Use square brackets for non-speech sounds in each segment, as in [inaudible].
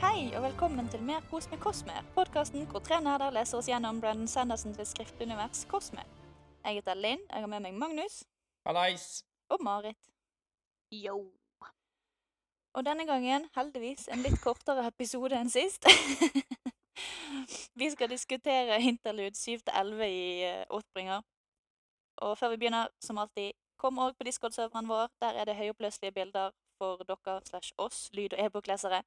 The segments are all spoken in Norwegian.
Hei og velkommen til Mer kos med Kosmer, podkasten hvor tre nerder leser oss gjennom Brandon Sanderson sitt skriftunivers Kosmer. Jeg heter Linn, jeg har med meg Magnus Hallais! og Marit. Yo. Og denne gangen heldigvis en litt kortere episode enn sist. [laughs] vi skal diskutere Interlude 7-11 i eh, Åtbringer. Og før vi begynner, som alltid, kom òg på Discord-serveren vår. Der er det høyoppløselige bilder for dere slash oss, lyd- og e-boklesere.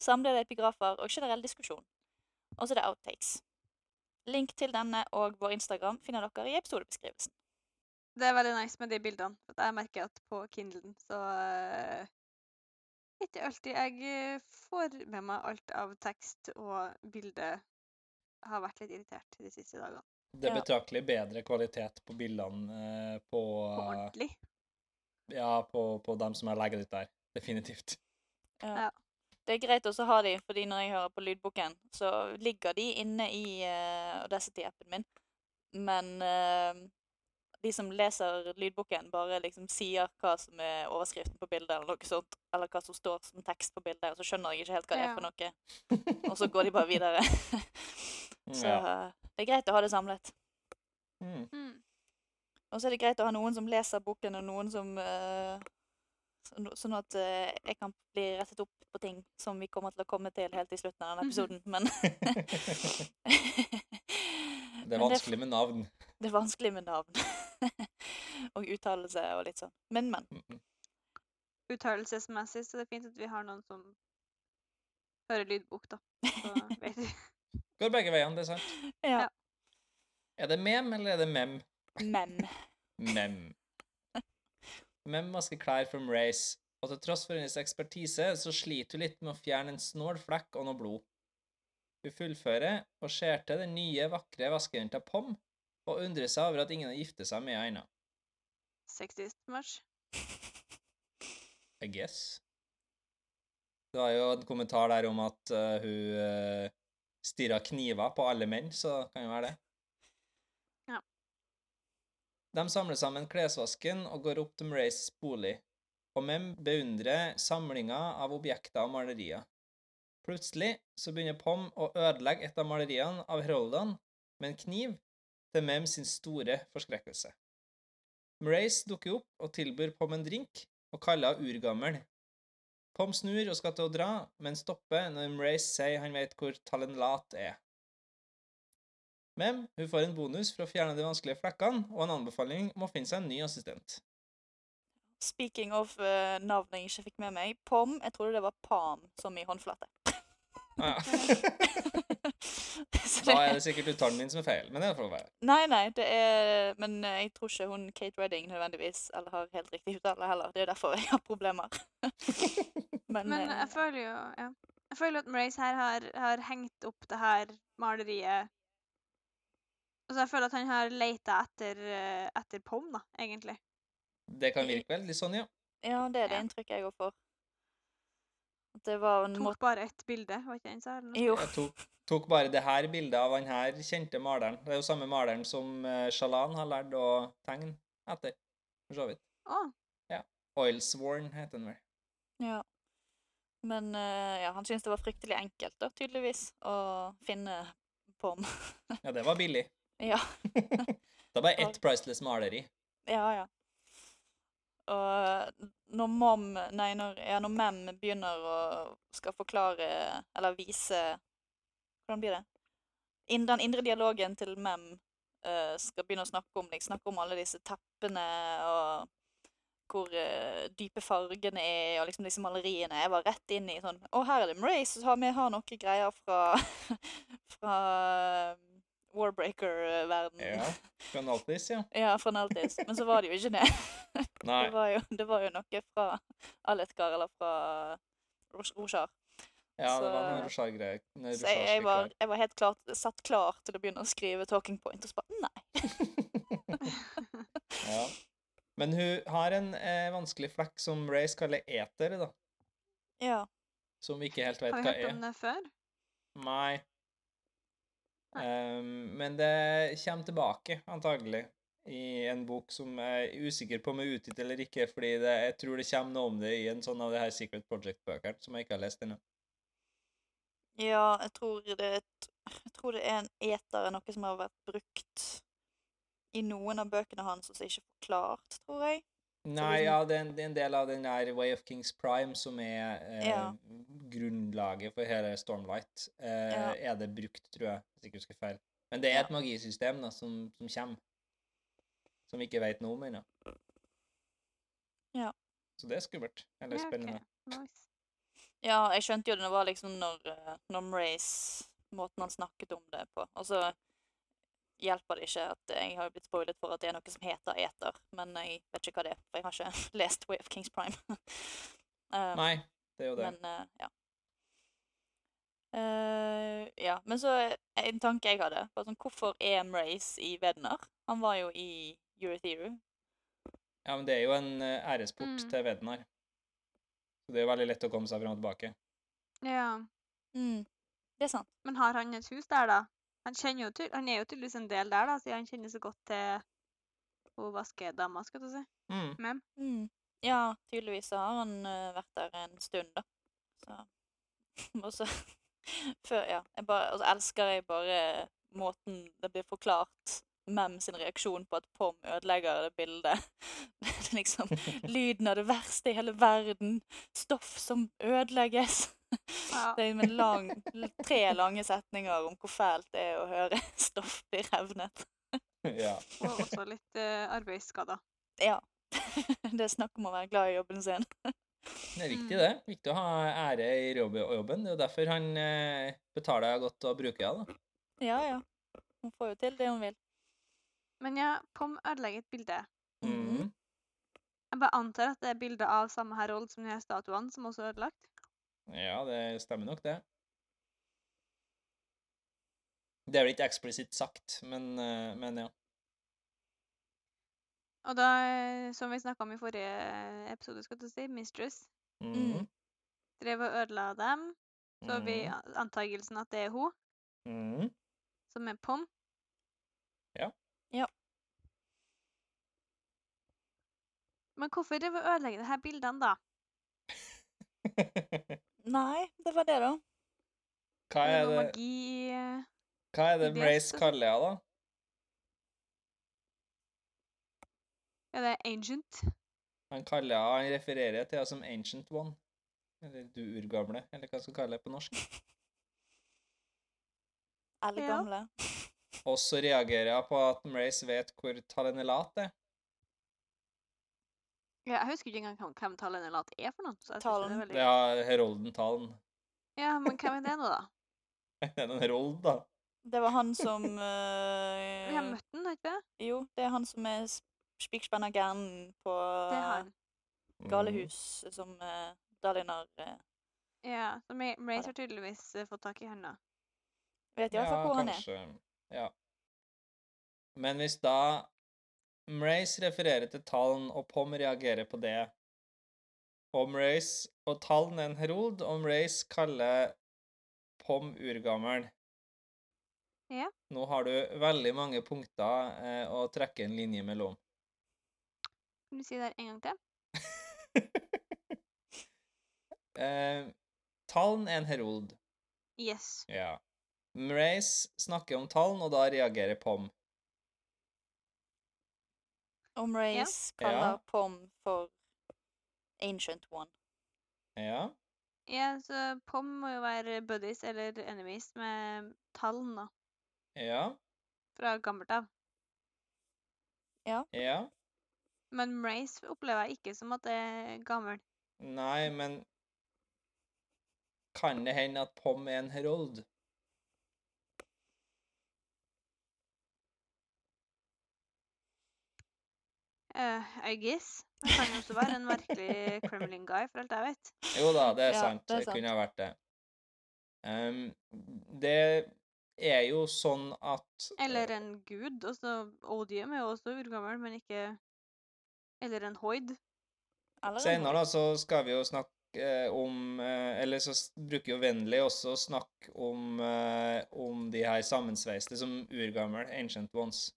Samlede epigrafer og generell diskusjon. Og så er det outtakes. Link til denne og vår Instagram finner dere i episodebeskrivelsen. Det er veldig nice med de bildene. for at Jeg merker at på Kindlen så eh, Ikke alltid jeg eh, får med meg alt av tekst og bilde. Har vært litt irritert de siste dagene. Det er Ja. betraktelig bedre kvalitet på bildene eh, på, På ordentlig. ja, på, på dem som jeg legger ut der. Definitivt. [laughs] Det er greit også å ha de, fordi når jeg hører på lydboken, så ligger de inne i uh, Audacity-appen min. Men eh, de som leser lydboken, bare liksom sier hva som er overskriften på bildet, eller noe sånt, eller hva som står som tekst på bildet, og så skjønner jeg ikke helt hva det er for noe. Og så går de bare videre. [laughs] så eh, det er greit å ha det samlet. Mm. Mm. Og så er det greit å ha noen som leser boken, og noen som eh, sånn- Sånn at eh, jeg kan bli rettet opp på ting som vi kommer til å komme til helt i slutten Mhm. av denne episoden, [laughs] men [laughs] Det er vanskelig med navn. Det er vanskelig med navn. [laughs] og uttalelse og litt sånn. Men, men. Mm. Uttalelsesmessig så det er fint at vi har noen som hører lydbok, da. Så vet vi. Går begge veiene, det er sant. Ja. Ja. Er det mem, eller er det mem? Mem. Mem. Mem vasker klær from race, og til tross for hennes ekspertise, så sliter hun litt med å fjerne en snål flekk og noe blod. Hun fullfører og ser til den nye, vakre vaskejenta Pom, og undrer seg over at ingen har giftet seg med henne ennå. Sexist much. I guess. Det var jo en kommentar der om at eh, hun uh, stirra kniver på alle menn, så det kan jo være det. Ja. De samler sammen klesvasken og går opp til Mrays bolig, og Mem beundrer samlinga av objekter og malerier. Plutselig så begynner Pom å ødelegge et av maleriene av Heroldan med en kniv, til Mem sin store forskrekkelse. Mrace dukker opp og tilbyr Pom en drink, og kaller henne urgammel. Pom snur og skal til å dra, men stopper når Mrace sier han vet hvor Talenlat er. Mem hun får en bonus for å fjerne de vanskelige flekkene, og en anbefaling om å finne seg en ny assistent. Speaking of eh, navn jeg ikke fikk med meg. Pom. Jeg trodde det var Pam, som i håndflate. [laughs] Ah, Så Da er det sikkert uttalen min som er feil, men det får være. Nei, nei, det er Men eh, jeg tror ikke hun Kate Redding nødvendigvis eller har helt riktig uttale heller. Det er jo derfor jeg har problemer. [laughs] men Men eh, jeg føler jo ja. Jeg føler at Mrace her har, har hengt opp det her maleriet Altså, jeg føler at han har leita etter, eh, etter Pom, da, egentlig. Det kan virke vel litt sånn, ja. ja, det er det ja. inntrykket jeg går for. At det var en Tok måte bare ett bilde, var ikke det han sa? eller noe? Jo. Jeg tok, tok bare det her bildet av han her kjente maleren. Det er jo samme maleren som eh, Shalan har lært å tegne etter, for så vidt. Å, Oilsworn heter den vel. Ja. Men eh, ja, han syntes det var fryktelig enkelt, da, tydeligvis, å finne Pom. Ja, det var billig. [laughs] ja. Det var ett priceless maleri. Ja, ja. Og når mom, nei, når, ja, når mem begynner å skal forklare, eller vise, hvordan blir det? Inn- den indre dialogen til mem eh, skal begynne å snakke om, liksom, snakke om alle disse teppene, og hvor eh, dype fargene er, og liksom disse maleriene. Jeg var rett inn i sånn, å her er det Mrace, så har vi har noen greier fra, [laughs] fra eh, Warbreaker-verdenen. Ja. Fra Naltis, ja. Ja, fra Naltis. Men så var det jo ikke det. Nei. Det var jo, det var jo noe fra Aletkar eller fra Ros- Rosjar. Ja, det var så- noen Roshar-greier. noen Så jeg, jeg, var, Roshar-stikker. jeg var helt klart, satt klar til å begynne å skrive talking point, og så bare nei. [laughs] Ja. Men hun har en eh, vanskelig flekk som Race kaller eter, da. Ja. Som vi ikke helt vet har vi hva hørt er. om det før? Nei. Nei. Ehm, men det kommer tilbake, antagelig, i en bok som jeg er usikker på om er utgitt eller ikke, fordi det, jeg tror det kommer noe om det i en sånn av de her Secret Project-bøkene som jeg ikke har lest ennå. Ja, jeg tror det, jeg tror det er en eter, er noe som har vært brukt i noen av bøkene hans, og som ikke er forklart, tror jeg. Nei, liksom- ja, det er, en, det er en del av den der Way of Kings Prime som er eh, Ja. grunnlaget for hele Stormlight. Eh, Ja. Er det brukt, tror jeg, hvis ikke jeg husker feil. Men det er Ja. et magisystem da, som, som kommer, som vi ikke vet noe om ennå. Ja. Så det er skummelt. Eller Ja, ok. spennende. Nice. Ja, jeg skjønte jo det når det var liksom når, eh, når Mrace Måten han snakket om det på. Og så hjelper det ikke at jeg har jo blitt spoilet for at det er noe som heter eter, men jeg vet ikke hva det er, for jeg har ikke [laughs] lest Way of Kings Prime. [laughs] Eh, Nei, det er jo det. men eh, ja. Eh, ja. Men så eh, en tanke jeg hadde, var sånn Hvorfor er Mrace i Vedner? Han var jo i Eurytheru. Ja, men det er jo en eh, æresport Mm. til Vednar. Så det er jo veldig lett å komme seg fram og tilbake. Ja. Mm. Det er sant. Men har han et hus der, da? Han, kjenner jo til, han er jo tydeligvis en del der, da, siden han kjenner så godt til hun vaskedama, skal du si. Mm. [laughs] Mem. Mm. Ja, tydeligvis så har han eh, vært der en stund, da. Så [laughs] Og så [laughs] Før, ja. Jeg bare, og så elsker jeg bare måten det blir forklart Mem sin reaksjon på at Pom ødelegger det bildet. [laughs] Det er [laughs] liksom lyden av det verste i hele verden. Stoff som ødelegges. Ja. Det er en lang, tre lange setninger om hvor fælt det er å høre [laughs] stoff bli revnet. ja. Og også litt eh, arbeidsskader. Ja. Det er snakk om å være glad i jobben sin. Det Mm. er viktig, det. Viktig å ha ære i jobb- jobben. Det er jo derfor han eh, betaler jeg godt og bruker jeg, da. Ja, ja. Hun får jo til det hun vil. Men ja, Pom ødelegger et bilde. Mm-hmm. Mhm. Mhm. Jeg bare antar at det er bilde av samme herold som de her statuene, som også er ødelagt. Ja, det stemmer nok, det. Det er vel ikke eksplisitt sagt, men, eh, men ja. Og da, eh, som vi snakka om i forrige episode, skal du si, Mistress Mhm. drev og ødela dem. Mm. Så har vi Mhm. a- antagelsen at det er hun, [laughs] Mhm. som er Pom. Ja. Ja. Men hvorfor drev hun og ødelegge disse bildene, da? Nei, det var det, da. Hva Er er det noe det, magi i eh, hva er det i det Mrace spesifikt? kaller jeg, da? Er det ancient? Han kaller jeg, han refererer til jeg som Ancient One. Eller du urgamle, eller hva jeg skal kalle det på norsk. Alle Ja. gamle. Og så reagerer jeg på at Mrace vet hvor Talenelat er. Ja, jeg husker ikke engang hvem- hvem tallen eller alt er for noe. Så jeg synes det Talen. er Det veldig... er Herolden Talen. Ja, men hvem er det nå, da? [laughs] Det er en herold, da. Det var [laughs] han som Vi har eh, møtt den, har ikke vi? Jo, det er han som er sp- spikspenna gærnen på Det er han. Mm. Galehus, som uh, Dalinar eh, Ja, så Ma- Mace det. har tydeligvis eh, fått tak i henne. Vet iallfall hvor han er. kanskje. Ja. Men hvis da Mrace refererer til Talen, og Pom reagerer på det Og Mrace og Talen er en herold, og Mrace kaller Pom urgammel Ja. Nå har du veldig mange punkter eh, å trekke en linje mellom. Kan du si det her en gang til? Eh, Talen er en herold. Yes. Ja. Mrace snakker om Talen, og da reagerer Pom. Og Mrace kaller Ja. Pom for Ancient One. Ja. Ja, så Pom må jo være buddies eller enemies med tallen, da. Ja. Fra gammelt av. Ja. Men Mace opplever jeg ikke som at det er gammel. Nei, men Kan det hende at Pom er en herold? Eh, I guess. Men kan jo også være en merkelig Kremlin guy, for alt jeg vet. Jo da, det er Ja, sant. det er Det, sant. kunne ha vært det. Ehm, det er jo sånn at Eller en gud. Også Odium er jo også urgammel, men ikke Eller en hoid. Eller en Senere da, så skal vi jo snakke eh, om eh, Eller så s- bruker jo Vennli også å snakke om, eh, om de her sammensveiste som urgammel, ancient ones.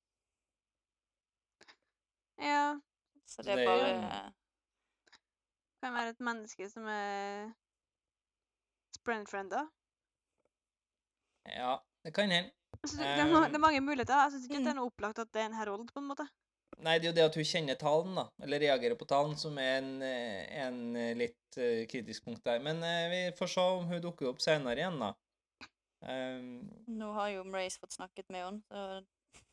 Ja, hoid, Så det det er er jo bare eh, en- kan være et menneske som er sprendfrienda. Ja, det kan hende. Altså, det, det, er ma- det er mange muligheter. da. Jeg syns ikke Mm. at det er noe opplagt at det er en herold, på en måte. Nei, det er jo det at hun kjenner talen, da. Eller reagerer på talen, som er en, eh, en eh, litt eh, kritisk punkt der. Men eh, vi får se om hun dukker opp senere igjen, da. Ehm, Nå har jo Mrace fått snakket med henne, så [laughs]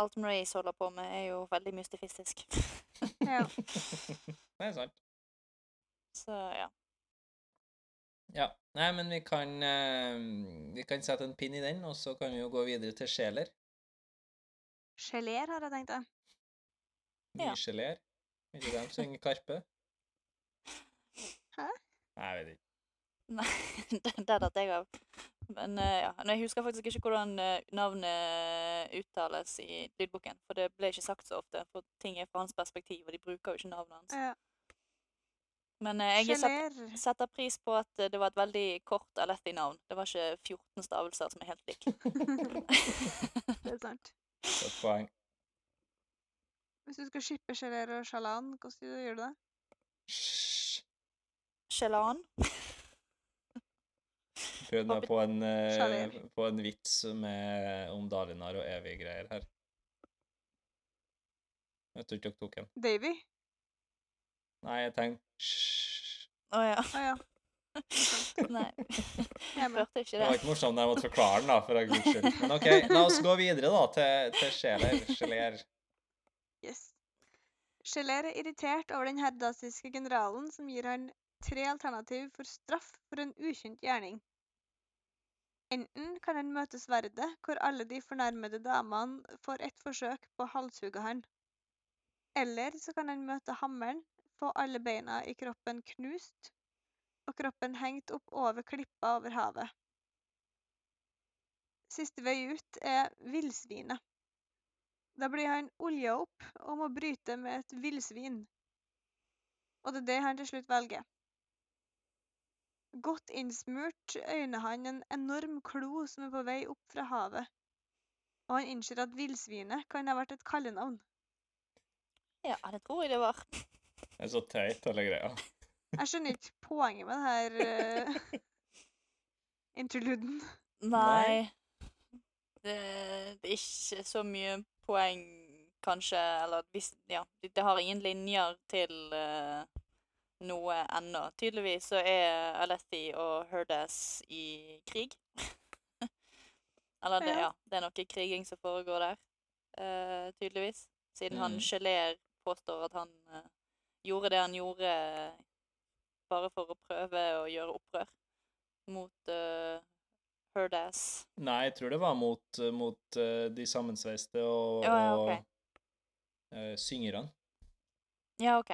alt Mrace holder på med, er jo veldig mystifistisk. [laughs] Ja. [laughs] det er sant. Så ja. Ja. Nei, men vi kan, eh, vi kan sette en pin i den, og så kan vi jo gå videre til sjeler. Geléer, har jeg tenkt. da. Ja. Nysjeler. Vet du hvem synger Karpe? Hæ? Nei, jeg vet ikke. Nei, [laughs] det det datt jeg av. Men eh, ja. Nei, jeg husker faktisk ikke hvordan eh, navnet eh, uttales i lydboken. For det ble ikke sagt så ofte, for ting er fra hans perspektiv, og de bruker jo ikke navnet hans. Ja. Men eh, jeg set, Geléer. setter pris på at eh, det var et veldig kort og lett i navn. Det var ikke 14 stavelser som er helt [laughs] like. Det er sant. Godt [laughs] poeng. Hvis du skal shippe geléer og sjalan, hvordan gjør du det? Hysj. Chelan. Prøvd meg på en, eh, Sjaler. på en vits med, om Dalinar og evige greier her. Jeg tror ikke dere tok den. Davy? Nei, jeg tenkte Hysj. Å ja. Å ja. [laughs] Nei, Jeg er med. hørte ikke Det var det. ikke morsomt da jeg måtte forklare den, da, for all guds skyld. Men OK, la oss gå videre, da, til, til sjeler. Sjeler. Yes. Scheler er irritert over den herdasiske generalen som gir han tre alternativ for straff for en ukjent gjerning. Enten kan han møte sverdet, hvor alle de fornærmede damene får ett forsøk på å halshugge han. Eller så kan han møte hammeren, få alle beina i kroppen knust, og kroppen hengt opp over klippa over havet. Siste vei ut er villsvinet. Da blir han olja opp og må bryte med et villsvin. Og det er det han til slutt velger. Godt innsmurt øyner han en enorm klo som er på vei opp fra havet. Og han innser at villsvinet kan ha vært et kallenavn. Ja, det tror jeg det var. Det er så teit, hele greia. Jeg skjønner ikke poenget med denne her eh, interluden. Nei. Det, det er ikke så mye poeng, kanskje. Eller hvis Ja, det det har ingen linjer til eh, noe ennå. Tydeligvis så er Alethi og Herdas i krig. [laughs] eller det, Ja. ja. Det er noe kriging som foregår der, eh, tydeligvis. Siden han Mhm. Gelér påstår at han eh, gjorde det han gjorde eh, bare for å prøve å gjøre opprør mot eh, Herdas. Nei, jeg tror det var mot, mot eh, de sammensveiste og, Ja, ja, ok. og eh, syngerne, Ja, OK.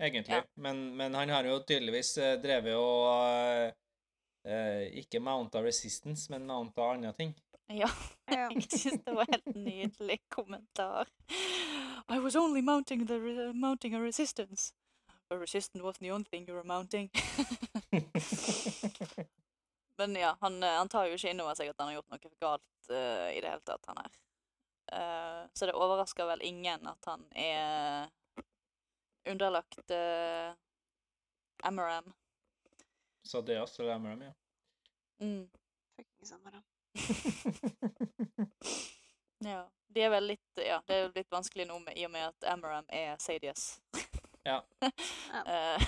egentlig. Ja. Men, men han har jo tydeligvis eh, drevet og eh, eh, Ikke mounta resistance, men mounta andre ting. [laughs] Ja, Ja. jeg synes det var helt nydelig kommentar. I was only mounting, the re mounting a resistance. A resistance wasn't the only thing you were mounting. Men ja, han, eh, han tar jo ikke inn over seg at han har gjort noe galt eh, i det hele tatt, han her. Eh, så det overrasker vel ingen at han er underlagt uh, Amaram. Så det også lemmer dem, ja. Mm, Fucking samme da. ja. De er vel litt, ja, det er jo litt vanskelig nå med, i og med at Amaram er Sadius. Ja. [laughs] Eh,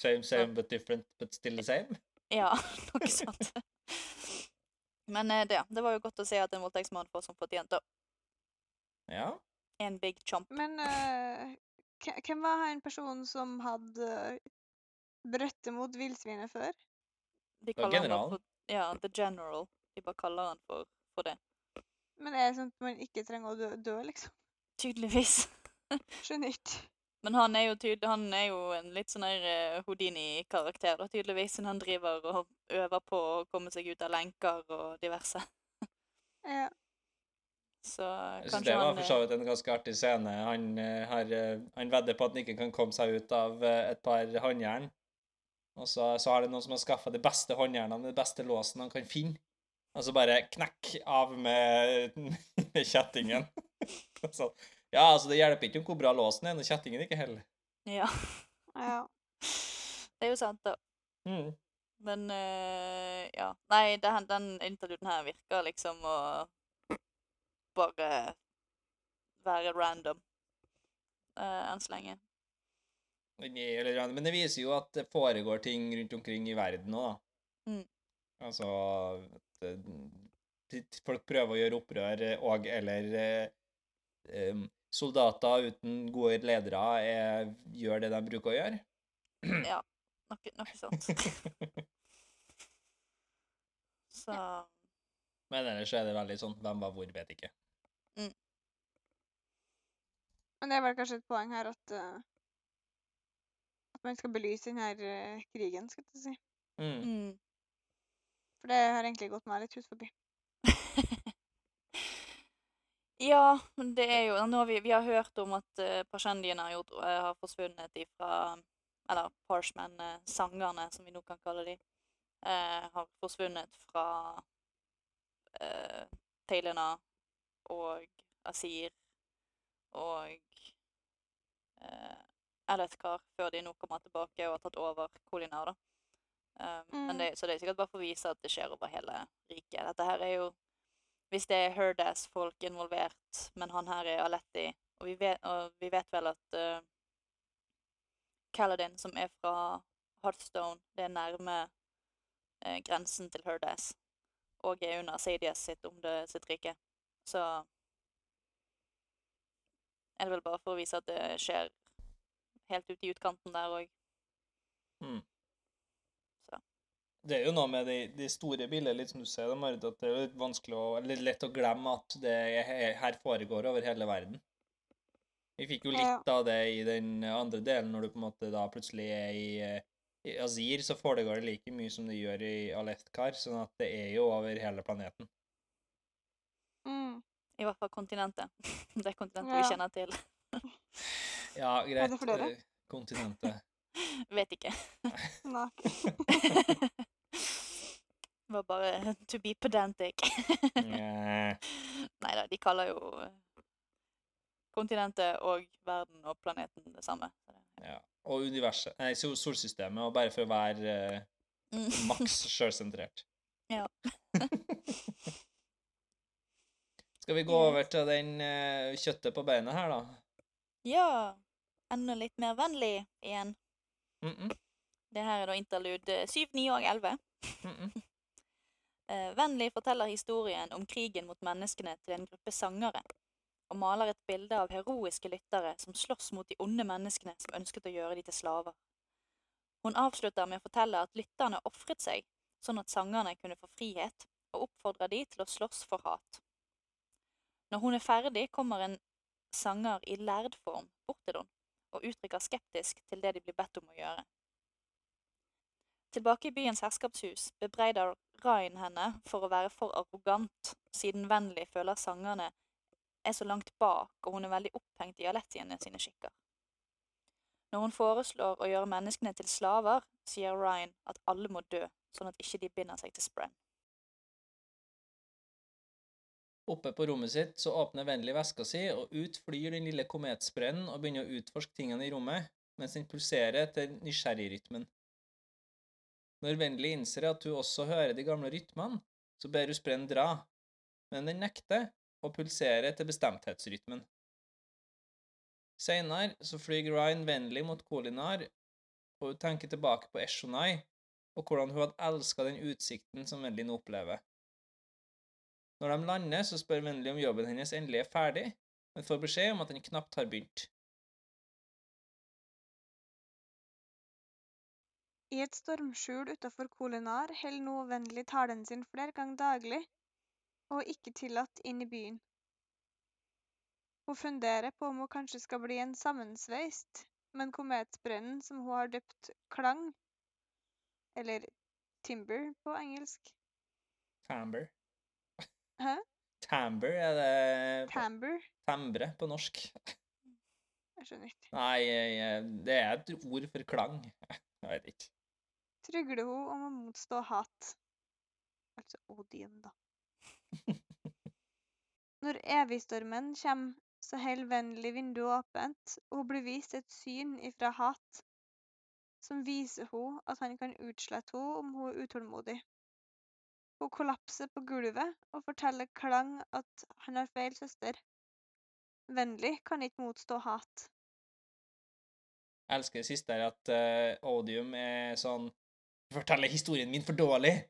Same, same, but different, but still the same. Ja, noe sånt. Men eh, det, det var jo godt å se at en voldtektsmann får som fortjent, da. Ja. En big chomp. Men eh, hve- hvem var han personen som hadde brøttet mot villsvinet før? De var kaller han bare generalen. for Ja, the general. De bare kaller han for, [laughs] for det. Men er det sånn at man ikke trenger å dø, dø liksom? Tydeligvis. Skjønner ikke. Men han er jo, tyd, han er jo en litt sånn der eh, Houdini-karakter, da, tydeligvis. Siden han driver og øver på å komme seg ut av lenker og diverse. Ja. Så Jeg synes kanskje det han var for eh, [laughs] så vidt en ganske artig scene. Han, eh, har, eh, han vedder på at han ikke kan komme seg ut av eh, et par håndjern. Og så, så har det noen som har skaffa de beste håndjernene, de beste låsen han kan finne. Og så bare knekk av med [laughs] med kjettingen. [laughs] så, ja, altså, det hjelper ikke om hvor bra låsen er når kjettingen ikke holder. Ja. ja. Det er jo sant, da. Mm. Men eh, ja. Nei, den, den interluden her virker liksom å bare være random eh, enn så lenge. Den er jo litt random, Men det viser jo at det foregår ting rundt omkring i verden òg, da. Mm. Altså at eh, Folk prøver å gjøre opprør eh, og eller eh, em, Soldater uten gode ledere eh, gjør det de bruker å gjøre. Noe, noe sånt. Så Men ellers er det veldig sånn hvem var hvor, vet ikke. Men det er vel kanskje et poeng her at eh, At man skal belyse denne krigen, skal jeg si. Mm. mm. For det har egentlig gått meg litt hus forbi. Ja, men det er jo nå har vi, vi har hørt om at uh, parsjendiene har, gjort- eh, har forsvunnet ifra Eller parshmennene, sangerne, som vi nå kan kalle de, eh, har forsvunnet fra uh, Taylena og Asir og uh, Elethkar før de nå kommer tilbake og har tatt over Kolinar, da. Eh, men Mm. det, så det er sikkert bare for å vise at det skjer over hele riket. Dette her er jo hvis det er Herdas-folk involvert, men han her er Aletti. Og vi vet, og vi vet vel at uh, Kaladin, som er fra Hearthstone, det er nærme eh, grensen til Herdas, og er under Sadias sitt, omdø- sitt rike. Så er det vel bare for å vise at det skjer helt ute i utkanten der òg. Det er jo noe med de, de store bildene, litt som du sier, da, Marit, at det er jo litt vanskelig å, eller lett å glemme at det er, he- her foregår over hele verden. Vi fikk jo Ja. litt av det i den andre delen, når du på en måte da plutselig er i, eh, i Azir, så foregår det like mye som det gjør i Alethkar, sånn at det er jo over hele planeten. Mm. I hvert fall kontinentet. [laughs] Det kontinentet Ja. vi kjenner til. [laughs] Ja, greit. det flere? eh, Kontinentet. Vet ikke. [laughs] Nei. Det var bare to be pedantic. [laughs] Nye. Nei da, de kaller jo eh, kontinentet og verden og planeten det samme. så det- Ja. Og universet, nei, sol- solsystemet, og bare for å være eh, Mm. maks sjølsentrert. Ja. [laughs] Skal vi gå Yes. over til den eh, kjøttet på beinet her, da? [laughs] Ja. Enda litt mer vennlig igjen. Mm -mm, Det her er da interlude 7, 9 og 11. mm -mm. Eh, Vennlig forteller historien om krigen mot menneskene til en gruppe sangere, og maler et bilde av heroiske lyttere som slåss mot de onde menneskene som ønsket å gjøre de til slaver. Hun avslutter med å fortelle at lytterne ofret seg, sånn at sangerne kunne få frihet, og oppfordrer de til å slåss for hat. Når hun er ferdig, kommer en sanger i lærd form bort til henne, og uttrykker skeptisk til det de blir bedt om å gjøre. Tilbake i byens herskapshus bebreider Rain henne for å være for arrogant, siden Vennlig føler sangerne er så langt bak, og hun er veldig opphengt i alettiene sine skikker. Når hun foreslår å gjøre menneskene til slaver, sier Ryan at alle må dø, sånn at ikke de binder seg til Spren. Oppe på rommet sitt så åpner vennlig veska si, og ut flyr den lille kometsprennen og begynner å utforske tingene i rommet, mens den pulserer etter nysgjerrigrytmen. Når vennlig innser at hun også hører de gamle rytmene, så ber hun sprennen dra, men den nekter og pulserer etter bestemthetsrytmen. Seinere så flyr Ryan vennlig mot Kolinar, og hun tenker tilbake på Eshonai og hvordan hun hadde elska den utsikten som vennlig nå opplever. Når de lander, så spør Vennlig om jobben hennes endelig er ferdig, men får beskjed om at den knapt har begynt. I et stormskjul utafor Kolinar holder nå vennlig talen sin flere ganger daglig, og er ikke tillatt inn i byen. Hun funderer på om hun kanskje skal bli en sammensveist, men kometsprennen, som hun har døpt Klang, eller Timber på engelsk, Tamber. Hæ? Tamber er det på- Tamber Tambre på norsk. Jeg skjønner ikke. Nei, eh, det er et ord for klang. Jeg vet ikke. Trygler hun om å motstå hat. Altså Odin, da. Når evigstormen kommer, så holder vennlig vinduet åpent, og hun blir vist et syn ifra hat. som viser henne at han kan utslette henne om hun er utålmodig. Hun kollapser på gulvet og forteller Klang at han har feil søster. Vennlig kan ikke motstå hat. Jeg elsker det siste her, at eh, Odium er sånn Forteller historien min for dårlig!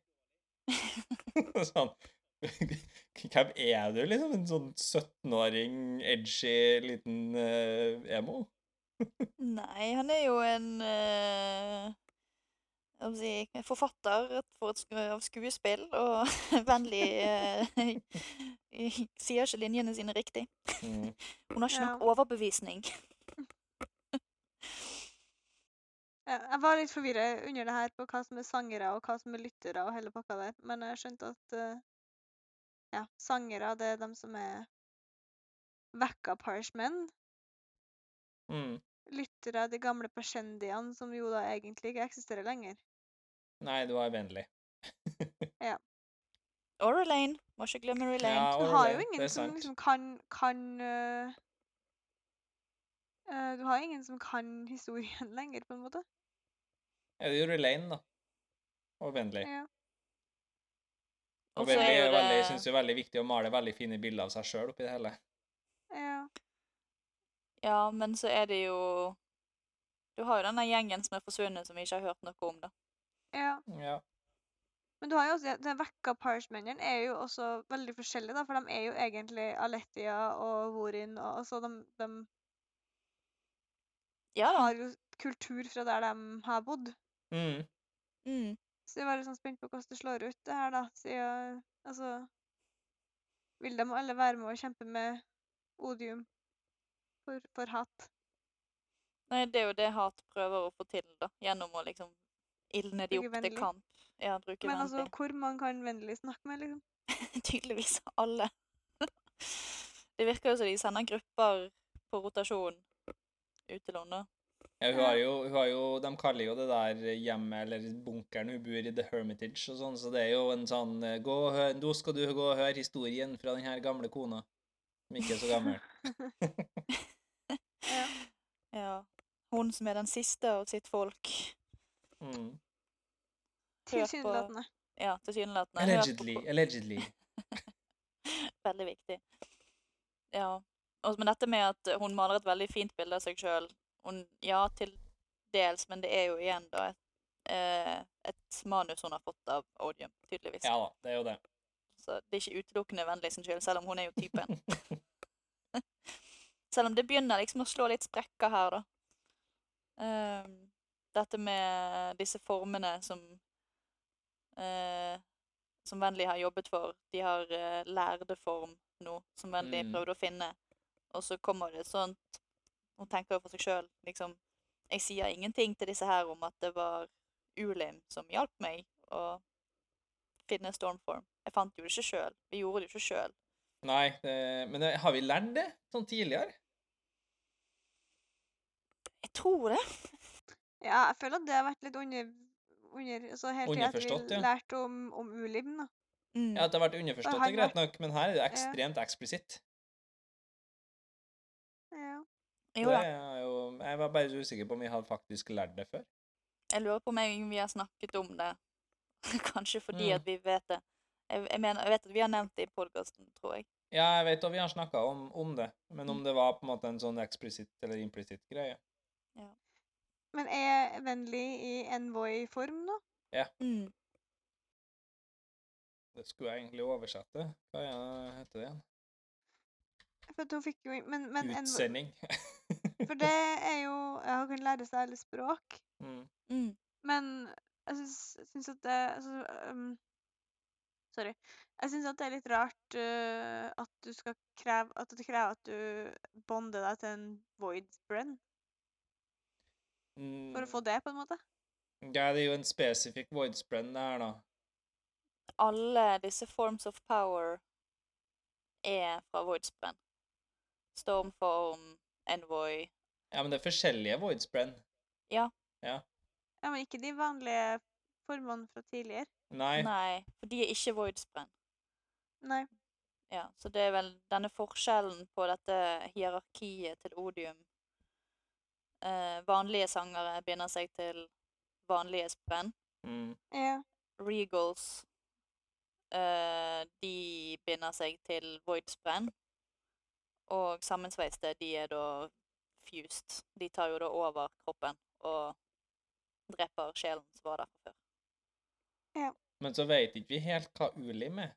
sånn Hvem er du, liksom? En sånn 17-åring, edgy, liten eh, emo? Nei, han er jo en eh, hva skal jeg si, forfatter et- for et, sku- av skuespill, og [laughs] vennlig eh, [laughs] sier ikke linjene sine riktig. Mm. Hun har ikke nok Ja. overbevisning. [laughs] Ja, Jeg var litt forvirra under det her på hva som er sangere og hva som er lyttere og hele pakka der, men jeg skjønte at eh, ja, sangere det er dem som er vekka parchmen. Mm. Lyttere er de gamle persendiene som jo da egentlig ikke eksisterer lenger. Nei, du var vennlig. Og Relaine. Må ikke glemme Relaine. Ja, og Du har jo Relaine, det ingen er som sant. liksom kan kan eh, eh, Du har ingen som kan historien [laughs] lenger, på en måte. Ja, det gjorde Lane, da. Og vennlig. Ja. Og Og så er vennlig jo er veldig, det- synes jeg er veldig viktig å male veldig fine bilder av seg sjøl oppi det hele. Ja. Ja. men så er det jo Du har jo denne gjengen som er forsvunnet, som vi ikke har hørt noe om, da. ja. Ja. Men du har jo også, det vekka parchmennene er jo også veldig forskjellige, da, for de er jo egentlig Aletia og Vorin, og altså de, de Ja da. har jo kultur fra der de har bodd. Mm. Mm. Så jeg var litt sånn spent på hvordan det slår ut, det her, da. Siden altså Vil de alle være med og kjempe med odium for, for hatt? Nei, det er jo det Hat prøver å få til, da. Gjennom å liksom ilne de Bruke opp til vennlig. kamp. Ja, bruke Men altså, vennlig. hvor mange kan vennlig snakke med, liksom? [laughs] tydeligvis alle. [laughs] Det virker jo som de sender grupper på rotasjon ut til London. Ja, hun har jo, hun har jo, de kaller jo det der hjemmet, eller bunkeren hun bor i, The Hermitage og sånn, så det er jo en sånn eh, gå og hør, Nå skal du gå og høre historien fra den her gamle kona, som ikke er så gammel. Ja. Ja. Hun som er den siste av sitt folk. Mm. Hør på- Tilsynelatende. Ja, tilsynelatende. Hør på- Allegedly. Allegedly. [laughs] Veldig viktig. Ja. Og, men dette med at hun maler et veldig fint bilde av seg sjøl Ja, til dels, men det er jo igjen da et, eh, et manus hun har fått av Odium, tydeligvis. Ja da, det er jo det. Så det er ikke utelukkende vennlig sin skyld, selv om hun er jo typen. [laughs] selv om det begynner liksom å slå litt sprekker her, da. Ehm, dette med disse formene som eh, som Vennlig har jobbet for. De har eh, lærde form nå, som Vennlig Mm. prøvde å finne. Og så kommer det et sånt Hun tenker jo for seg sjøl, liksom Jeg sier ingenting til disse her om at det var Ulim som hjalp meg å finne Stormform. Jeg fant jo det ikke sjøl. Vi gjorde det jo ikke sjøl. Nei, det, men det, har vi lært det sånn tidligere? Jeg tror det. Ja, jeg føler at det har vært litt under... under altså helt til at Underforstått, vi ja. lærte om, om ulim, da. Mm. Ja, at det har vært underforstått, det har er greit nok, men her er det ekstremt eksplisitt. Ja. jo Det da. er jo, jeg var bare så usikker på om vi hadde faktisk lært det før. Jeg lurer på om jeg- vi har snakket om det. [laughs] Kanskje fordi Mm. at vi vet det. Jeg, jeg, mener, jeg vet at vi har nevnt det i podkasten, tror jeg. Ja, jeg vet at vi har snakka om, om det, men Mm. om det var på en måte en sånn eksplisitt eller implisitt greie. Men er vennlig i envoy-form nå? Mm. Det skulle jeg egentlig oversette. Hva er det heter det igjen? For at hun fikk jo men, men envoy- Utsending. [laughs] For det er jo ja, Hun kan lære seg alle språk. mm. Mm. Men jeg syns, syns at det altså, um, Sorry. Jeg syns at det er litt rart øh, at du skal kreve At det krever at du bonder deg til en void brenn for å få det, på en måte. Mm. Ja, det er jo en spesifikk voidsprend det her, da. Alle disse forms of power er fra Voidspenn. Stormform, Envoy Ja, men det er forskjellige voidsprend. Ja, men ikke de vanlige formene fra tidligere. Nei. Nei, for de er ikke Voidspenn. Nei. Ja, så det er vel denne forskjellen på dette hierarkiet til odium. Eh, vanlige sangere binder seg til vanlige spenn. Mm. Ja. Regals eh, De binder seg til Void-sprenn. Og sammensveiste, de er da fused. De tar jo da over kroppen og dreper sjelen som var der fra før. Men så vet ikke vi helt hva ulim er.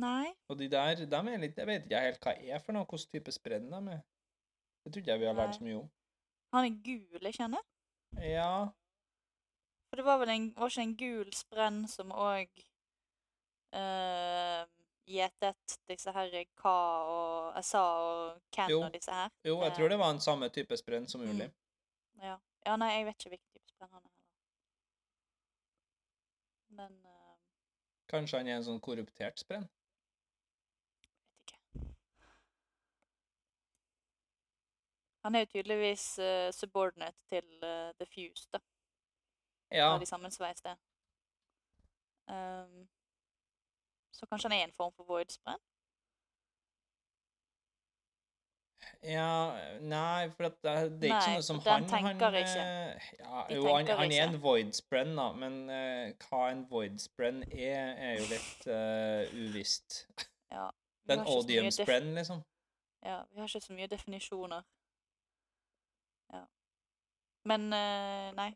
Nei. Og de der, dem er litt, jeg vet ikke helt hva er for noe, hvilken type spredning de er. Det tror ikke jeg vi har lært så mye om. Han er gul, jeg kjenner. Ja, For det var vel en, var ikke en gul sprenn som òg eh, gjetet disse her Ka og Asa og Ken Jo. og disse her? jo, jeg Eh, tror det var den samme type spredning som Mm. ulim. Ja. ja, nei, jeg vet ikke hvilken type sprenn han er heller. Men eh, Kanskje han er en sånn korruptert sprenn? vet ikke. Han er jo tydeligvis eh, subordinate til eh, The Fuse, da. Ja, når de sammensveiste. Ehm, så kanskje han er en form for void-sprenn? Ja, nei, for at det, det er Nei, ikke sånn som for han den tenker han, ikke. eh, Ja, De jo, han, tenker han er ikke. en voidsprenn, da, men eh, hva en voidsprenn er, er jo litt eh, uvisst. Ja. vi Det har ikke så mye er en def- odiumsprenn, liksom. Ja, vi har ikke så mye definisjoner. Ja. Men eh, nei.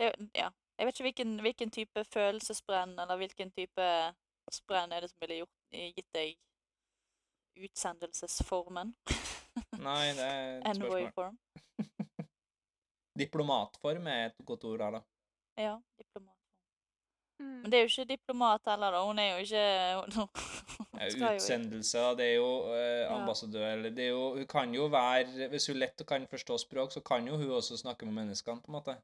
Det, er jo- ja. Jeg vet ikke hvilken, hvilken type følelsesbrenn eller hvilken type sprenn er det som ville gjort, gitt deg utsendelsesformen. Nei, det er et Envoy spørsmål. form. Diplomatform er et godt ord her, da. Ja, diplomat. Mm. Men det er jo ikke diplomat heller, da. Hun er jo ikke Hun, Eh, skal jo ikke- Utsendelse, da. Det er jo eh, ambassadør eller det er jo, Hun kan jo være Hvis hun lett kan forstå språk, så kan jo hun også snakke med menneskene, på en måte.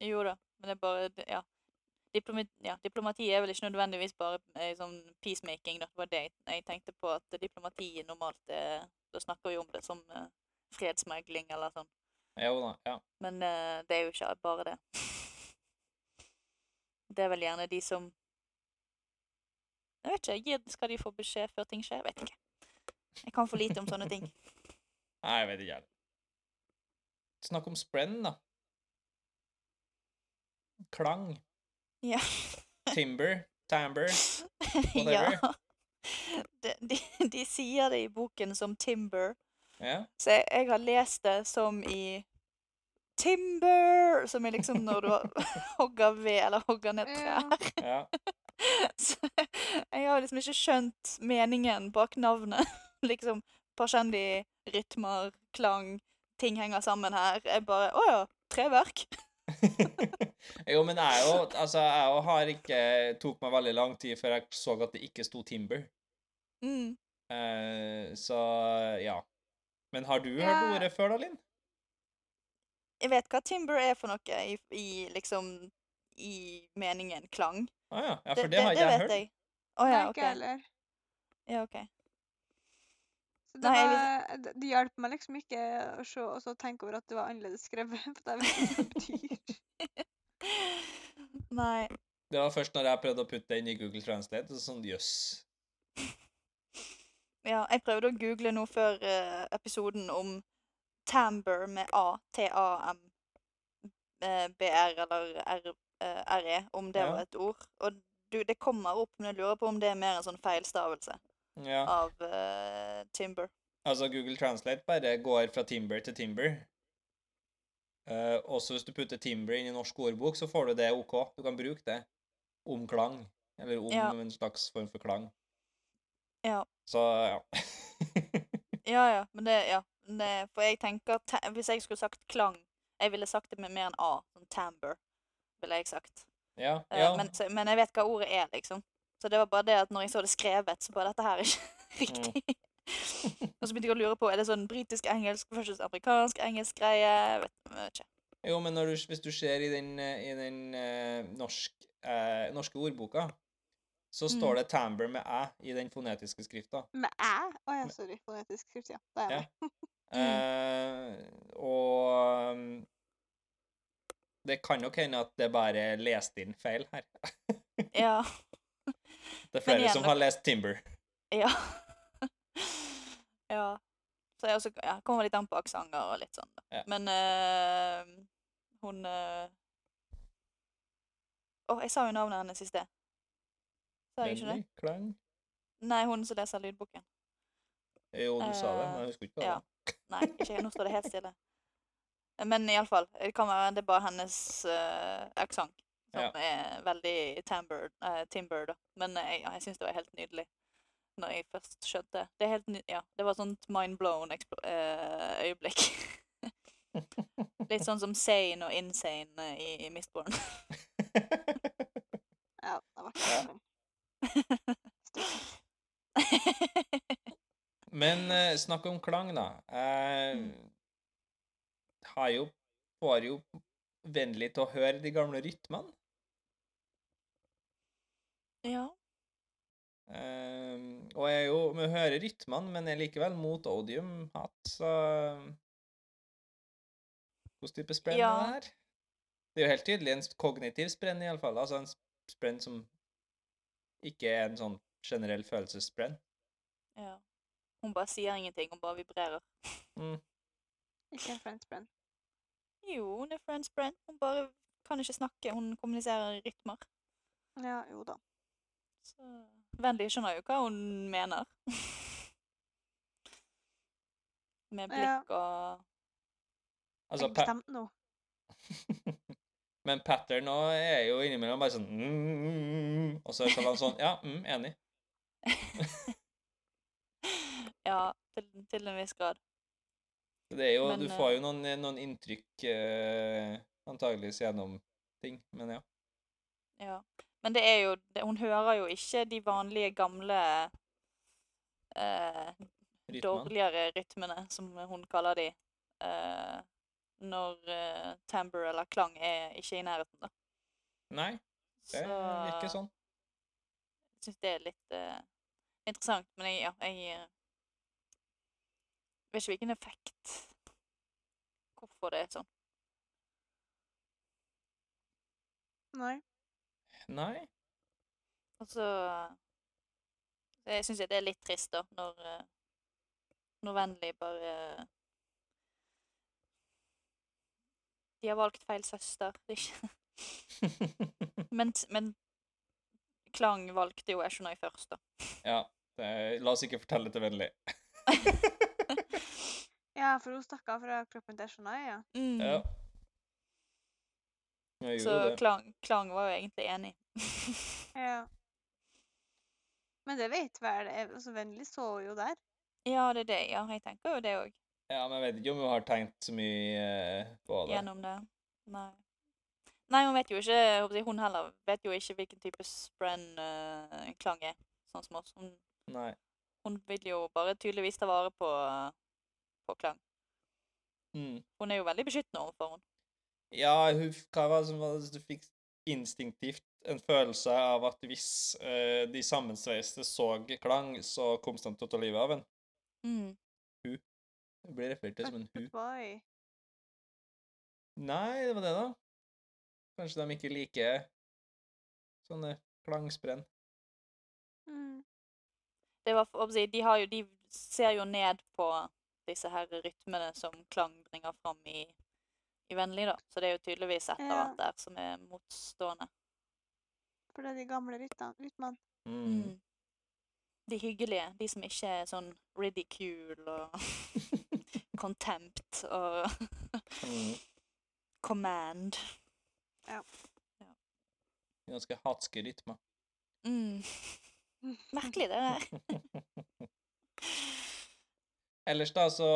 Jo da, men det er bare det- ja. Diplomati, ja. Diplomati er vel ikke nødvendigvis bare eh, sånn peacemaking, da. Det var det jeg- jeg tenkte på, at diplomati normalt er Da snakker vi om det som eh, fredsmegling eller sånn. Jo da, ja. Men eh, det er jo ikke bare det. [laughs] Det er vel gjerne de som Jeg vet ikke. gir- Skal de få beskjed før ting skjer? Jeg vet ikke. Jeg kan for lite om sånne ting. [laughs] Nei, jeg vet ikke, jeg. Snakk om sprenn, da. Klang. Ja. Timber. Timber. [laughs] ja. Whatever. De, de, de sier det i boken som timber. Ja. Så jeg, jeg har lest det som i Timber! Som er liksom når du [laughs] hogger ved eller hogger ned [laughs] Ja. trær. ja. [laughs] Så jeg har liksom ikke skjønt meningen bak navnet. [laughs] Liksom Parshendi, rytmer, klang, ting henger sammen her. Jeg bare Å ja, treverk. jo, men jeg jo Altså, jeg jo har ikke Tok meg veldig lang tid før jeg så at det ikke sto Timber. [laughs] Mm. Eh, så ja. Men har du hørt Ja. ordet før, da, Linn? Jeg vet hva timber er for noe i, i liksom I meningen klang. Å Ah, ja. ja. For det, har ikke jeg hørt. jeg. Å ja, Nei, OK. ikke jeg heller. Ja, ok. [laughs] Så det, Nei, jeg var, det- det hjalp meg liksom ikke å se og så tenke over at det var annerledes skrevet. [laughs] For jeg vet ikke hva det betyr. Nei. Det var først når jeg prøvde å putte det inn i Google Translate, og sånn jøss. Ja, jeg prøvde å google noe før eh, episoden om Tamber med A, T-A-M-B-R eller R- eh, R-E, om det Ja. var et ord. Og du, det kommer opp, men jeg lurer på om det er mer en sånn feilstavelse Ja. av eh, Timber. Altså, Google Translate bare går fra Timber til Timber. Eh, også hvis du putter Timber inn i norsk ordbok, så får du det OK. Du kan bruke det om klang, eller om Ja. en slags form for klang. Ja. Så ja. [laughs] Ja, ja, men det, ja. men Det, for jeg tenker, ta, hvis jeg skulle sagt klang, jeg ville sagt det med mer enn A, sånn Tamber, ville jeg sagt. ja, Eh, ja. Men, så, men jeg vet hva ordet er, liksom. Så det var bare det at når jeg så det skrevet, så bare dette her er ikke [laughs] Mm. riktig. og så begynte jeg å lure på er det sånn britisk-engelsk versus amerikansk-engelsk greie. Jeg Vet, jeg vet ikke. Jo, men når du, hvis du ser i den, eh, i den eh, norsk, eh, norske ordboka, så står Mm. det Tamber med æ i den fonetiske skrifta. Med æ? Å ja, sorry. Fonetisk skrift, ja. Da er jeg Ja. med. Mm. Eh, og um, det kan nok hende at det bare er lest inn feil her. Ja. [laughs] Det Men er flere igjen, som det- har lest Timber. Ja. ja. Så jeg også, ja, kommer litt an på aksenter og litt sånn. da. Ja. Men eh, Hun eh, Åh, jeg sa jo navnet hennes i sted. Sa jeg ikke det? Lendley? Klang? Nei, hun som leser lydboken. Jo, du sa det, men Eh, jeg husker ikke hva det ja. var. Nei, ikke jeg. Nå står det helt stille. Men iallfall. Det kan være det er bare hennes uh, aksent som Ja. er veldig timber, eh, timber da. Men eh, ja, jeg syns det var helt nydelig når jeg først skjønte det. er helt ny ja, det var et sånt mind blown ekspl- eh, øyeblikk. Litt sånn som sane og insane eh, i, i Mistborn. [laughs] Ja, det var Ja. ikke det. [laughs] Men eh, snakk om klang, da. Jeg Mm. har jo Var jo vennlig til å høre de gamle rytmene. ja. Eh, og jeg er jo Vi hører rytmene, men jeg er likevel mot odium-hat, så Hvilken type sprenn Ja. er det her? Det er jo helt tydelig en kognitiv sprenn, iallfall. Altså en sp- sprenn som ikke er en sånn generell følelsessprenn. ja. Hun bare sier ingenting, hun bare vibrerer. Ikke en friends brand. Jo, hun er friends friend. Hun bare kan ikke snakke, hun kommuniserer i rytmer. Ja, jo da. Så Wendy skjønner jo hva hun mener. [laughs] Med Ja. blikk og [laughs] Altså, Jeg pa bestemte nå. Men pattern òg er jo innimellom bare sånn mm, mm, mm, mm, Og så skal han sånn Ja, mm, enig. Ja, til, til en viss grad. Det er jo, Men, du eh, får jo noen, noen inntrykk eh, antageligvis gjennom ting, men ja. Ja. Men det er jo det, Hun hører jo ikke de vanlige, gamle eh, Rytmen. dårligere rytmene, som hun kaller de, eh, når eh, timbre eller klang er ikke i nærheten, da. Nei, det er ikke sånn. Jeg syns det er litt eh, interessant, men jeg, ja, jeg eh, vet ikke hvilken effekt Hvorfor det er sånn. Nei. Nei. [laughs] Og så så Jeg syns det er litt trist, da, når, eh, når Vennlig bare eh, De har valgt feil søster. Det er ikke [laughs] Men, men Klang valgte jo Eshonai først, da. [laughs] [laughs] ja. Det er, la oss ikke fortelle til vennlig. Ja, for hun stakk av fra kroppen til Shania. Ja. Mm. Ja. Jeg så gjorde det. klang, klang var jo egentlig enig. [laughs] Ja. Men det vet vel jeg- altså, Vennlig så jo der. ja, det er det. Ja, jeg tenker jo det òg. Ja, men jeg vet ikke om hun har tenkt så mye eh, på det. gjennom det. Nei. Nei, hun vet jo ikke jeg håper å si, Hun heller vet jo ikke hvilken type sprenn-klang er, sånn som oss. Hun, Nei. hun vil jo bare tydeligvis ta vare på, eh, på klang. Mm. Hun er jo veldig beskyttende overfor henne. Ja, hun, f- hva var det som var det du fikk instinktivt en følelse av at hvis eh, de sammensveiste så klang, så kom de til å ta livet av en. Det blir referert til som en hu. Boy. Nei, det var det, da. Kanskje de ikke liker sånne klangsprenn. Mm. Det var, for- å si, de, har jo, de ser jo ned på disse her rytmene som klang bringer fram i, i vennlig, da. Så det er jo tydeligvis et eller Ja. annet der som er motstående. For det er de gamle ryttene. Rytmene. Mm. De hyggelige. De som ikke er sånn ridicule og [laughs] contempt og [laughs] Mm. command. Ganske hatske rytmer. Mm. [laughs] Merkelig, det der. Ellers da, så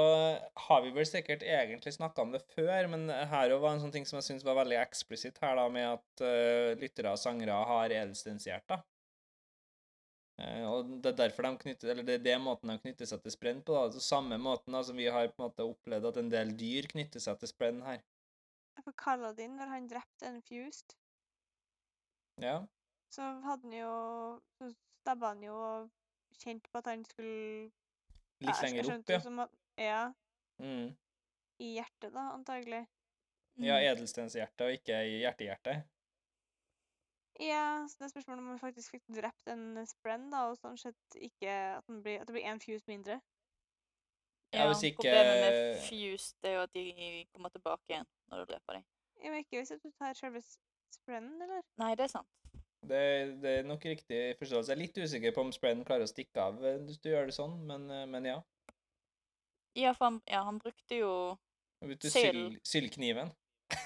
har vi vel sikkert egentlig snakka om det før, men her også var en sånn ting som jeg syns var veldig eksplisitt her, da, med at eh, lyttere og sangere har edelstenshjerter. Eh, og det er derfor de knytter, eller det er det måten de knytter seg til sprenn på, da. Altså samme måten da, som vi har på en måte opplevd at en del dyr knytter seg til sprenn her. For Kaladin, når han drepte en fused, Ja. så hadde han jo Så stabba han jo og kjente på at han skulle Litt jeg- jeg lenger skjønte opp, ja. liksom jo Som at, ja. Mm. I hjertet, da, antagelig. [laughs] Ja, Mm. edelstenshjerte og ikke i hjerte-hjerte. Ja, så det er spørsmålet om han faktisk fikk drept en sprenn, da, og sånn sett ikke at, den blir, at det blir én fused mindre. Ja, hvis ikke- Problemet med fused er jo at de kommer tilbake igjen når du dreper dem. Ja, men ikke hvis at du tar selve s- sprayen, eller? Nei, det er sant. Det, det er nok riktig forståelse. Jeg er litt usikker på om sprayen klarer å stikke av eh, hvis du gjør det sånn, men, eh, men ja. Ja, for han, ja, han brukte jo Vet du, Syl. syl, sylkniven.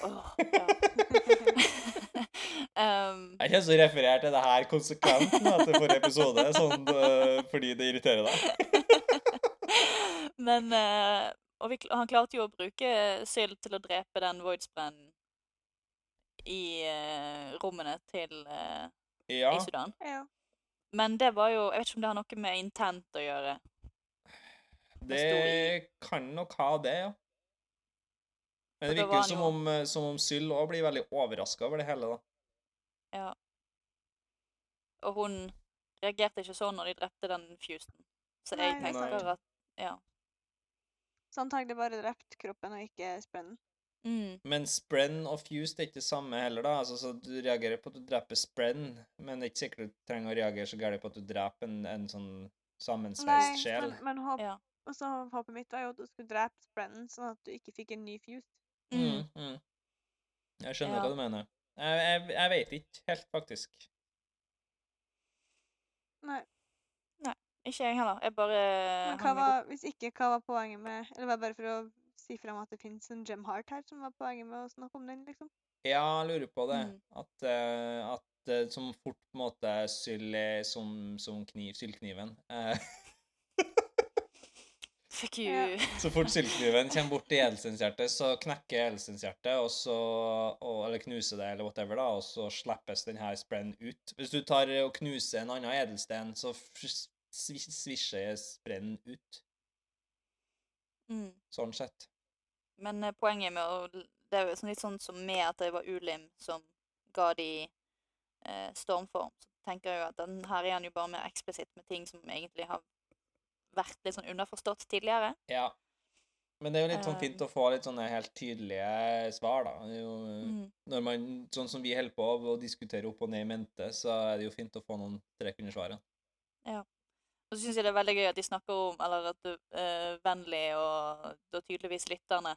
Åh, ja. [laughs] [laughs] Ehm, Jeg kommer til å referere til det her konsekvent nå til forrige episode, sånn, eh, fordi det irriterer deg. [laughs] men eh, Og vi, kl- han klarte jo å bruke syl til å drepe den voidsprayen i eh, rommene til eh, Ja, i Sudan. Ja. Men det var jo Jeg vet ikke om det har noe med intent å gjøre. det kan nok ha det, ja. Men det For da virker var jo han som jo- om, eh, som om Syl òg blir veldig overraska over det hele, da. Og hun reagerte ikke sånn når de drepte den fusen. Så jeg det er Nei, sant. tenker at Ja. Så antagelig bare drept kroppen og ikke sprayen. Mm, Men Sprenn og Fuse det er ikke det samme heller, da. Altså, så du reagerer på at du dreper Sprenn, men det er ikke sikkert du trenger å reagere så gærent på at du dreper en, en sånn sammensveist sjel. men, men håp, Ja. og så håpet mitt var jo at du skulle drepe sprayen, sånn at du ikke fikk en ny fuse. mm. Mm, mm. Jeg skjønner Ja. hva du mener. Jeg, jeg, jeg veit ikke helt, faktisk. Nei, Ikke jeg heller. Jeg bare men hva hang meg opp. var, hvis ikke, hva var poenget med Eller var det bare for å si frem at det finnes en gem heart her, som var poenget med å snakke om den, liksom? Ja, jeg lurer på det. Mm. At, eh, at eh, som fort på en måte syll er som, som kniv, sylkniven. Eh, [laughs] Fuck you. [laughs] Ja. så fort sylkniven kommer bort til Edelsens hjerte, så knekker Edelsens hjerte, og så, og, eller knuser det, eller whatever, da, og så slippes denne sprayen ut. Hvis du tar og knuser en annen edelsten, så fs- svi- svisjer sprayen ut. Mm. Sånn sett. Men eh, poenget med å Det er jo sånn litt sånn som med at det var Ulim som ga de eh, stormform. Så tenker jeg jo at den her er han jo bare mer eksplisitt med ting som egentlig har vært litt sånn underforstått tidligere. Ja. Men det er jo litt sånn fint å få litt sånne helt tydelige svar, da. Det er jo... Mm. når man, sånn som vi holder på å diskutere opp og ned i mente, så er det jo fint å få noen trekk under svaret. Og så syns jeg det er veldig gøy at de snakker om, eller at uh, Vennlig og da tydeligvis lytterne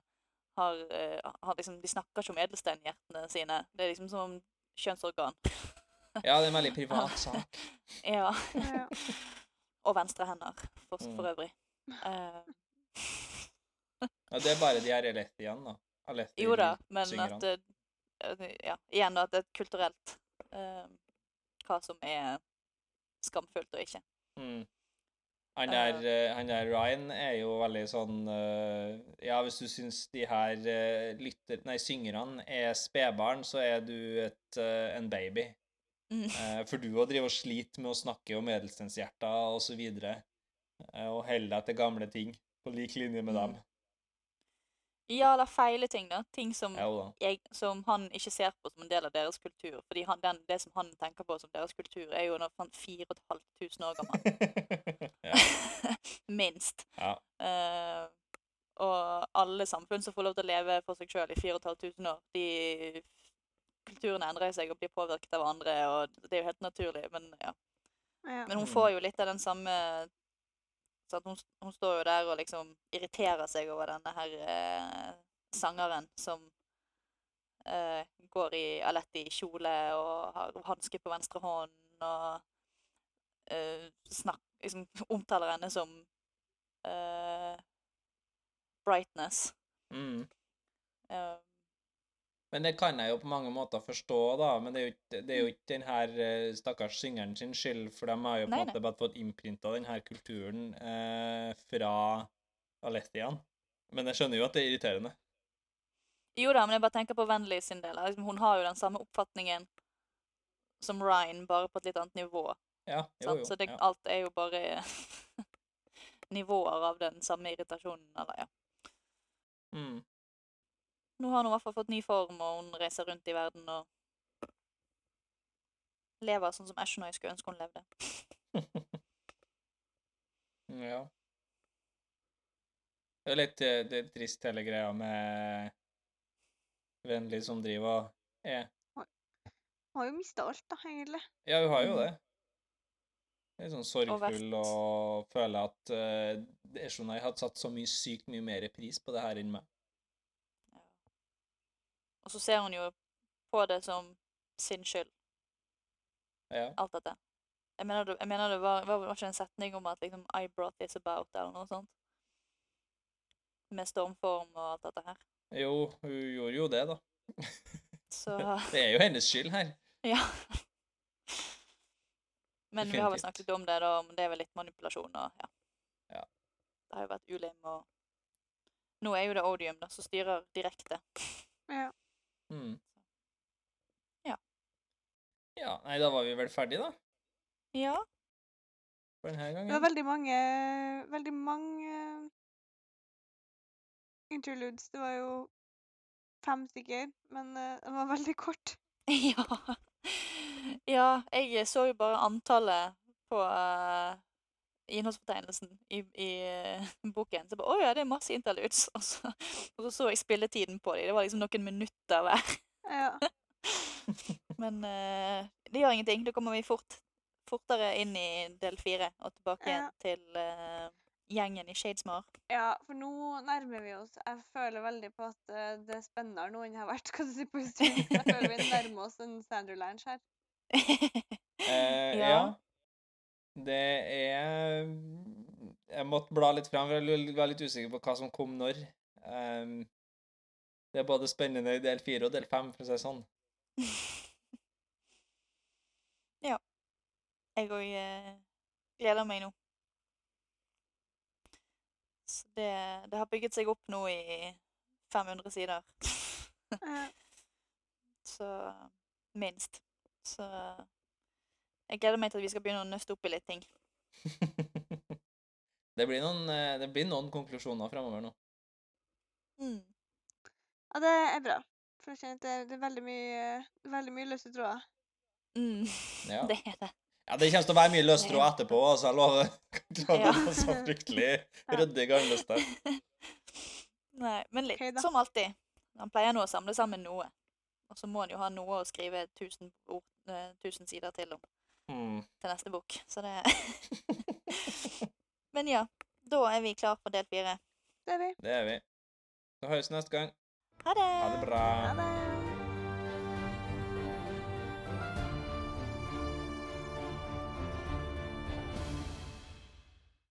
har, eh, har liksom De snakker ikke om edelsteinhjertene sine. Det er liksom som om kjønnsorgan. Ja, det er en veldig [laughs] privat sak. Ja. Ja. og venstre hender, for, Mm. for øvrig. Eh, [laughs] Ja, det er bare de her Alethi igjen, da. Alethi jo da, men synger at det, ja, Igjen at det er kulturelt eh, hva som er skamfullt og ikke. Mm. Han der, eh, han der Ryan er jo veldig sånn eh, Ja, hvis du syns de her eh, lytter... Nei, syngerne er spedbarn, så er du et, eh, en baby. Mm. Eh, For du òg driver og sliter med å snakke om edelstenshjerter og så videre, eh, og holder deg til gamle ting på lik linje med dem. Mm. Ja, eller feile ting, da. Ting som, Jo da. jeg, som han ikke ser på som en del av deres kultur. Fordi han, den, det som han tenker på som deres kultur, er jo når han er 4500 år gammel. [laughs] ja. [laughs] Minst. ja. Eh, og alle samfunn som får lov til å leve for seg sjøl i 4500 år, de kulturene endrer seg og blir påvirket av andre, og det er jo helt naturlig, men ja. Ja. Men hun Mm. får jo litt av den samme så at hun, hun står jo der og liksom irriterer seg over denne her eh, sangeren som eh, går i Aletti-kjole og har hanske på venstre hånd og eh, snakk, liksom, [laughs] omtaler henne som eh, brightness. Mm. Eh, Men det kan jeg jo på mange måter forstå, da. Men det er jo ikke, det er jo ikke den her eh, stakkars syngeren sin skyld, for de har jo på Nei, en måte bare fått innprinta den her kulturen eh, fra Alethian. Men jeg skjønner jo at det er irriterende. Jo da, men jeg bare tenker på Vennlig sin del. Liksom, hun har jo den samme oppfatningen som Ryan, bare på et litt annet nivå. Ja, jo, sant? jo. Så det, ja. alt er jo bare [laughs] nivåer av den samme irritasjonen, eller ja. Mm. Nå har hun i hvert fall fått ny form, og hun reiser rundt i verden og lever sånn som Ashnoy skulle ønske hun levde. ja. Det er litt eh, det er trist, hele greia med Vennlig som driver og er Hun har jo mista alt, da, egentlig. Ja, hun har jo Mhm. det. Litt sånn Og vært- sorgfull og føler at uh, Eshonai hadde satt så mye sykt mye mer pris på det her enn meg. Og så ser hun jo på det som sin skyld, Ja. alt dette. Jeg mener det, jeg mener det var, var vel ikke en setning om at liksom, I brought this about, eller noe sånt. Med stormform og alt dette her. Jo, hun gjorde jo det, da. Så [laughs] Det er jo hennes skyld her. [laughs] ja. Men vi har vel Definitivt. snakket om det, da, om det er vel litt manipulasjon og ja. Ja. Det har jo vært ulim og Nå er jo det Odium, da, som styrer direkte. Ja. Mm. Ja. Ja, Nei, da var vi vel ferdige, da. Ja. For denne Det var gangen. veldig mange Veldig mange interludes. Det var jo fem stykker, men eh, det var veldig kort. [laughs] Ja. ja, jeg så jo bare antallet på eh, innholdsfortegnelsen i, i eh, boken. Så jeg bare, Å ja, det er masse interludes. [laughs] Og så, og så så jeg spilletiden på dem. Det var liksom noen minutter hver. Ja. Men eh, det gjør ingenting. Da kommer vi fort, fortere inn i del fire og tilbake igjen Ja. til eh, gjengen i Shadesmar. Ja, for nå nærmer vi oss. Jeg føler veldig på at eh, det er spennende nå enn det har vært. Hva du sier på historien. Jeg føler vi nærmer oss en Sanderlands her. Eh, [laughs] Ja. ja. Det er Jeg måtte bla litt fram, for jeg var litt usikker på hva som kom når. Ehm, det er både spennende i del fire og del fem, for å si det sånn. Jeg òg eh, gleder meg nå. Så det, det har bygget seg opp nå i 500 sider. [laughs] Ja. Så minst. Så jeg gleder meg til at vi skal begynne å nøste opp i litt ting. [laughs] det, blir noen, eh, det blir noen konklusjoner framover nå. Mm. ja, det er bra. For jeg kjenner at det, det er veldig mye, veldig mye løse tråder. Mm. Ja. Det er det. Ja, Det kommer til å være mye løs tråd etterpå, altså, jeg lover. [laughs] Jeg lover Ja. det var så fryktelig ryddig garnløst der. Nei, men litt. Ok, da. som alltid. Han pleier nå å samle sammen noe. Og så må han jo ha noe å skrive 1000 ord, eh, 1000 sider til om. Mm. til neste bok. Så det [laughs] Men ja, da er vi klar for del fire. Det er vi. Det er vi. Så høres vi neste gang. Ha det! Ha det bra. Ha det.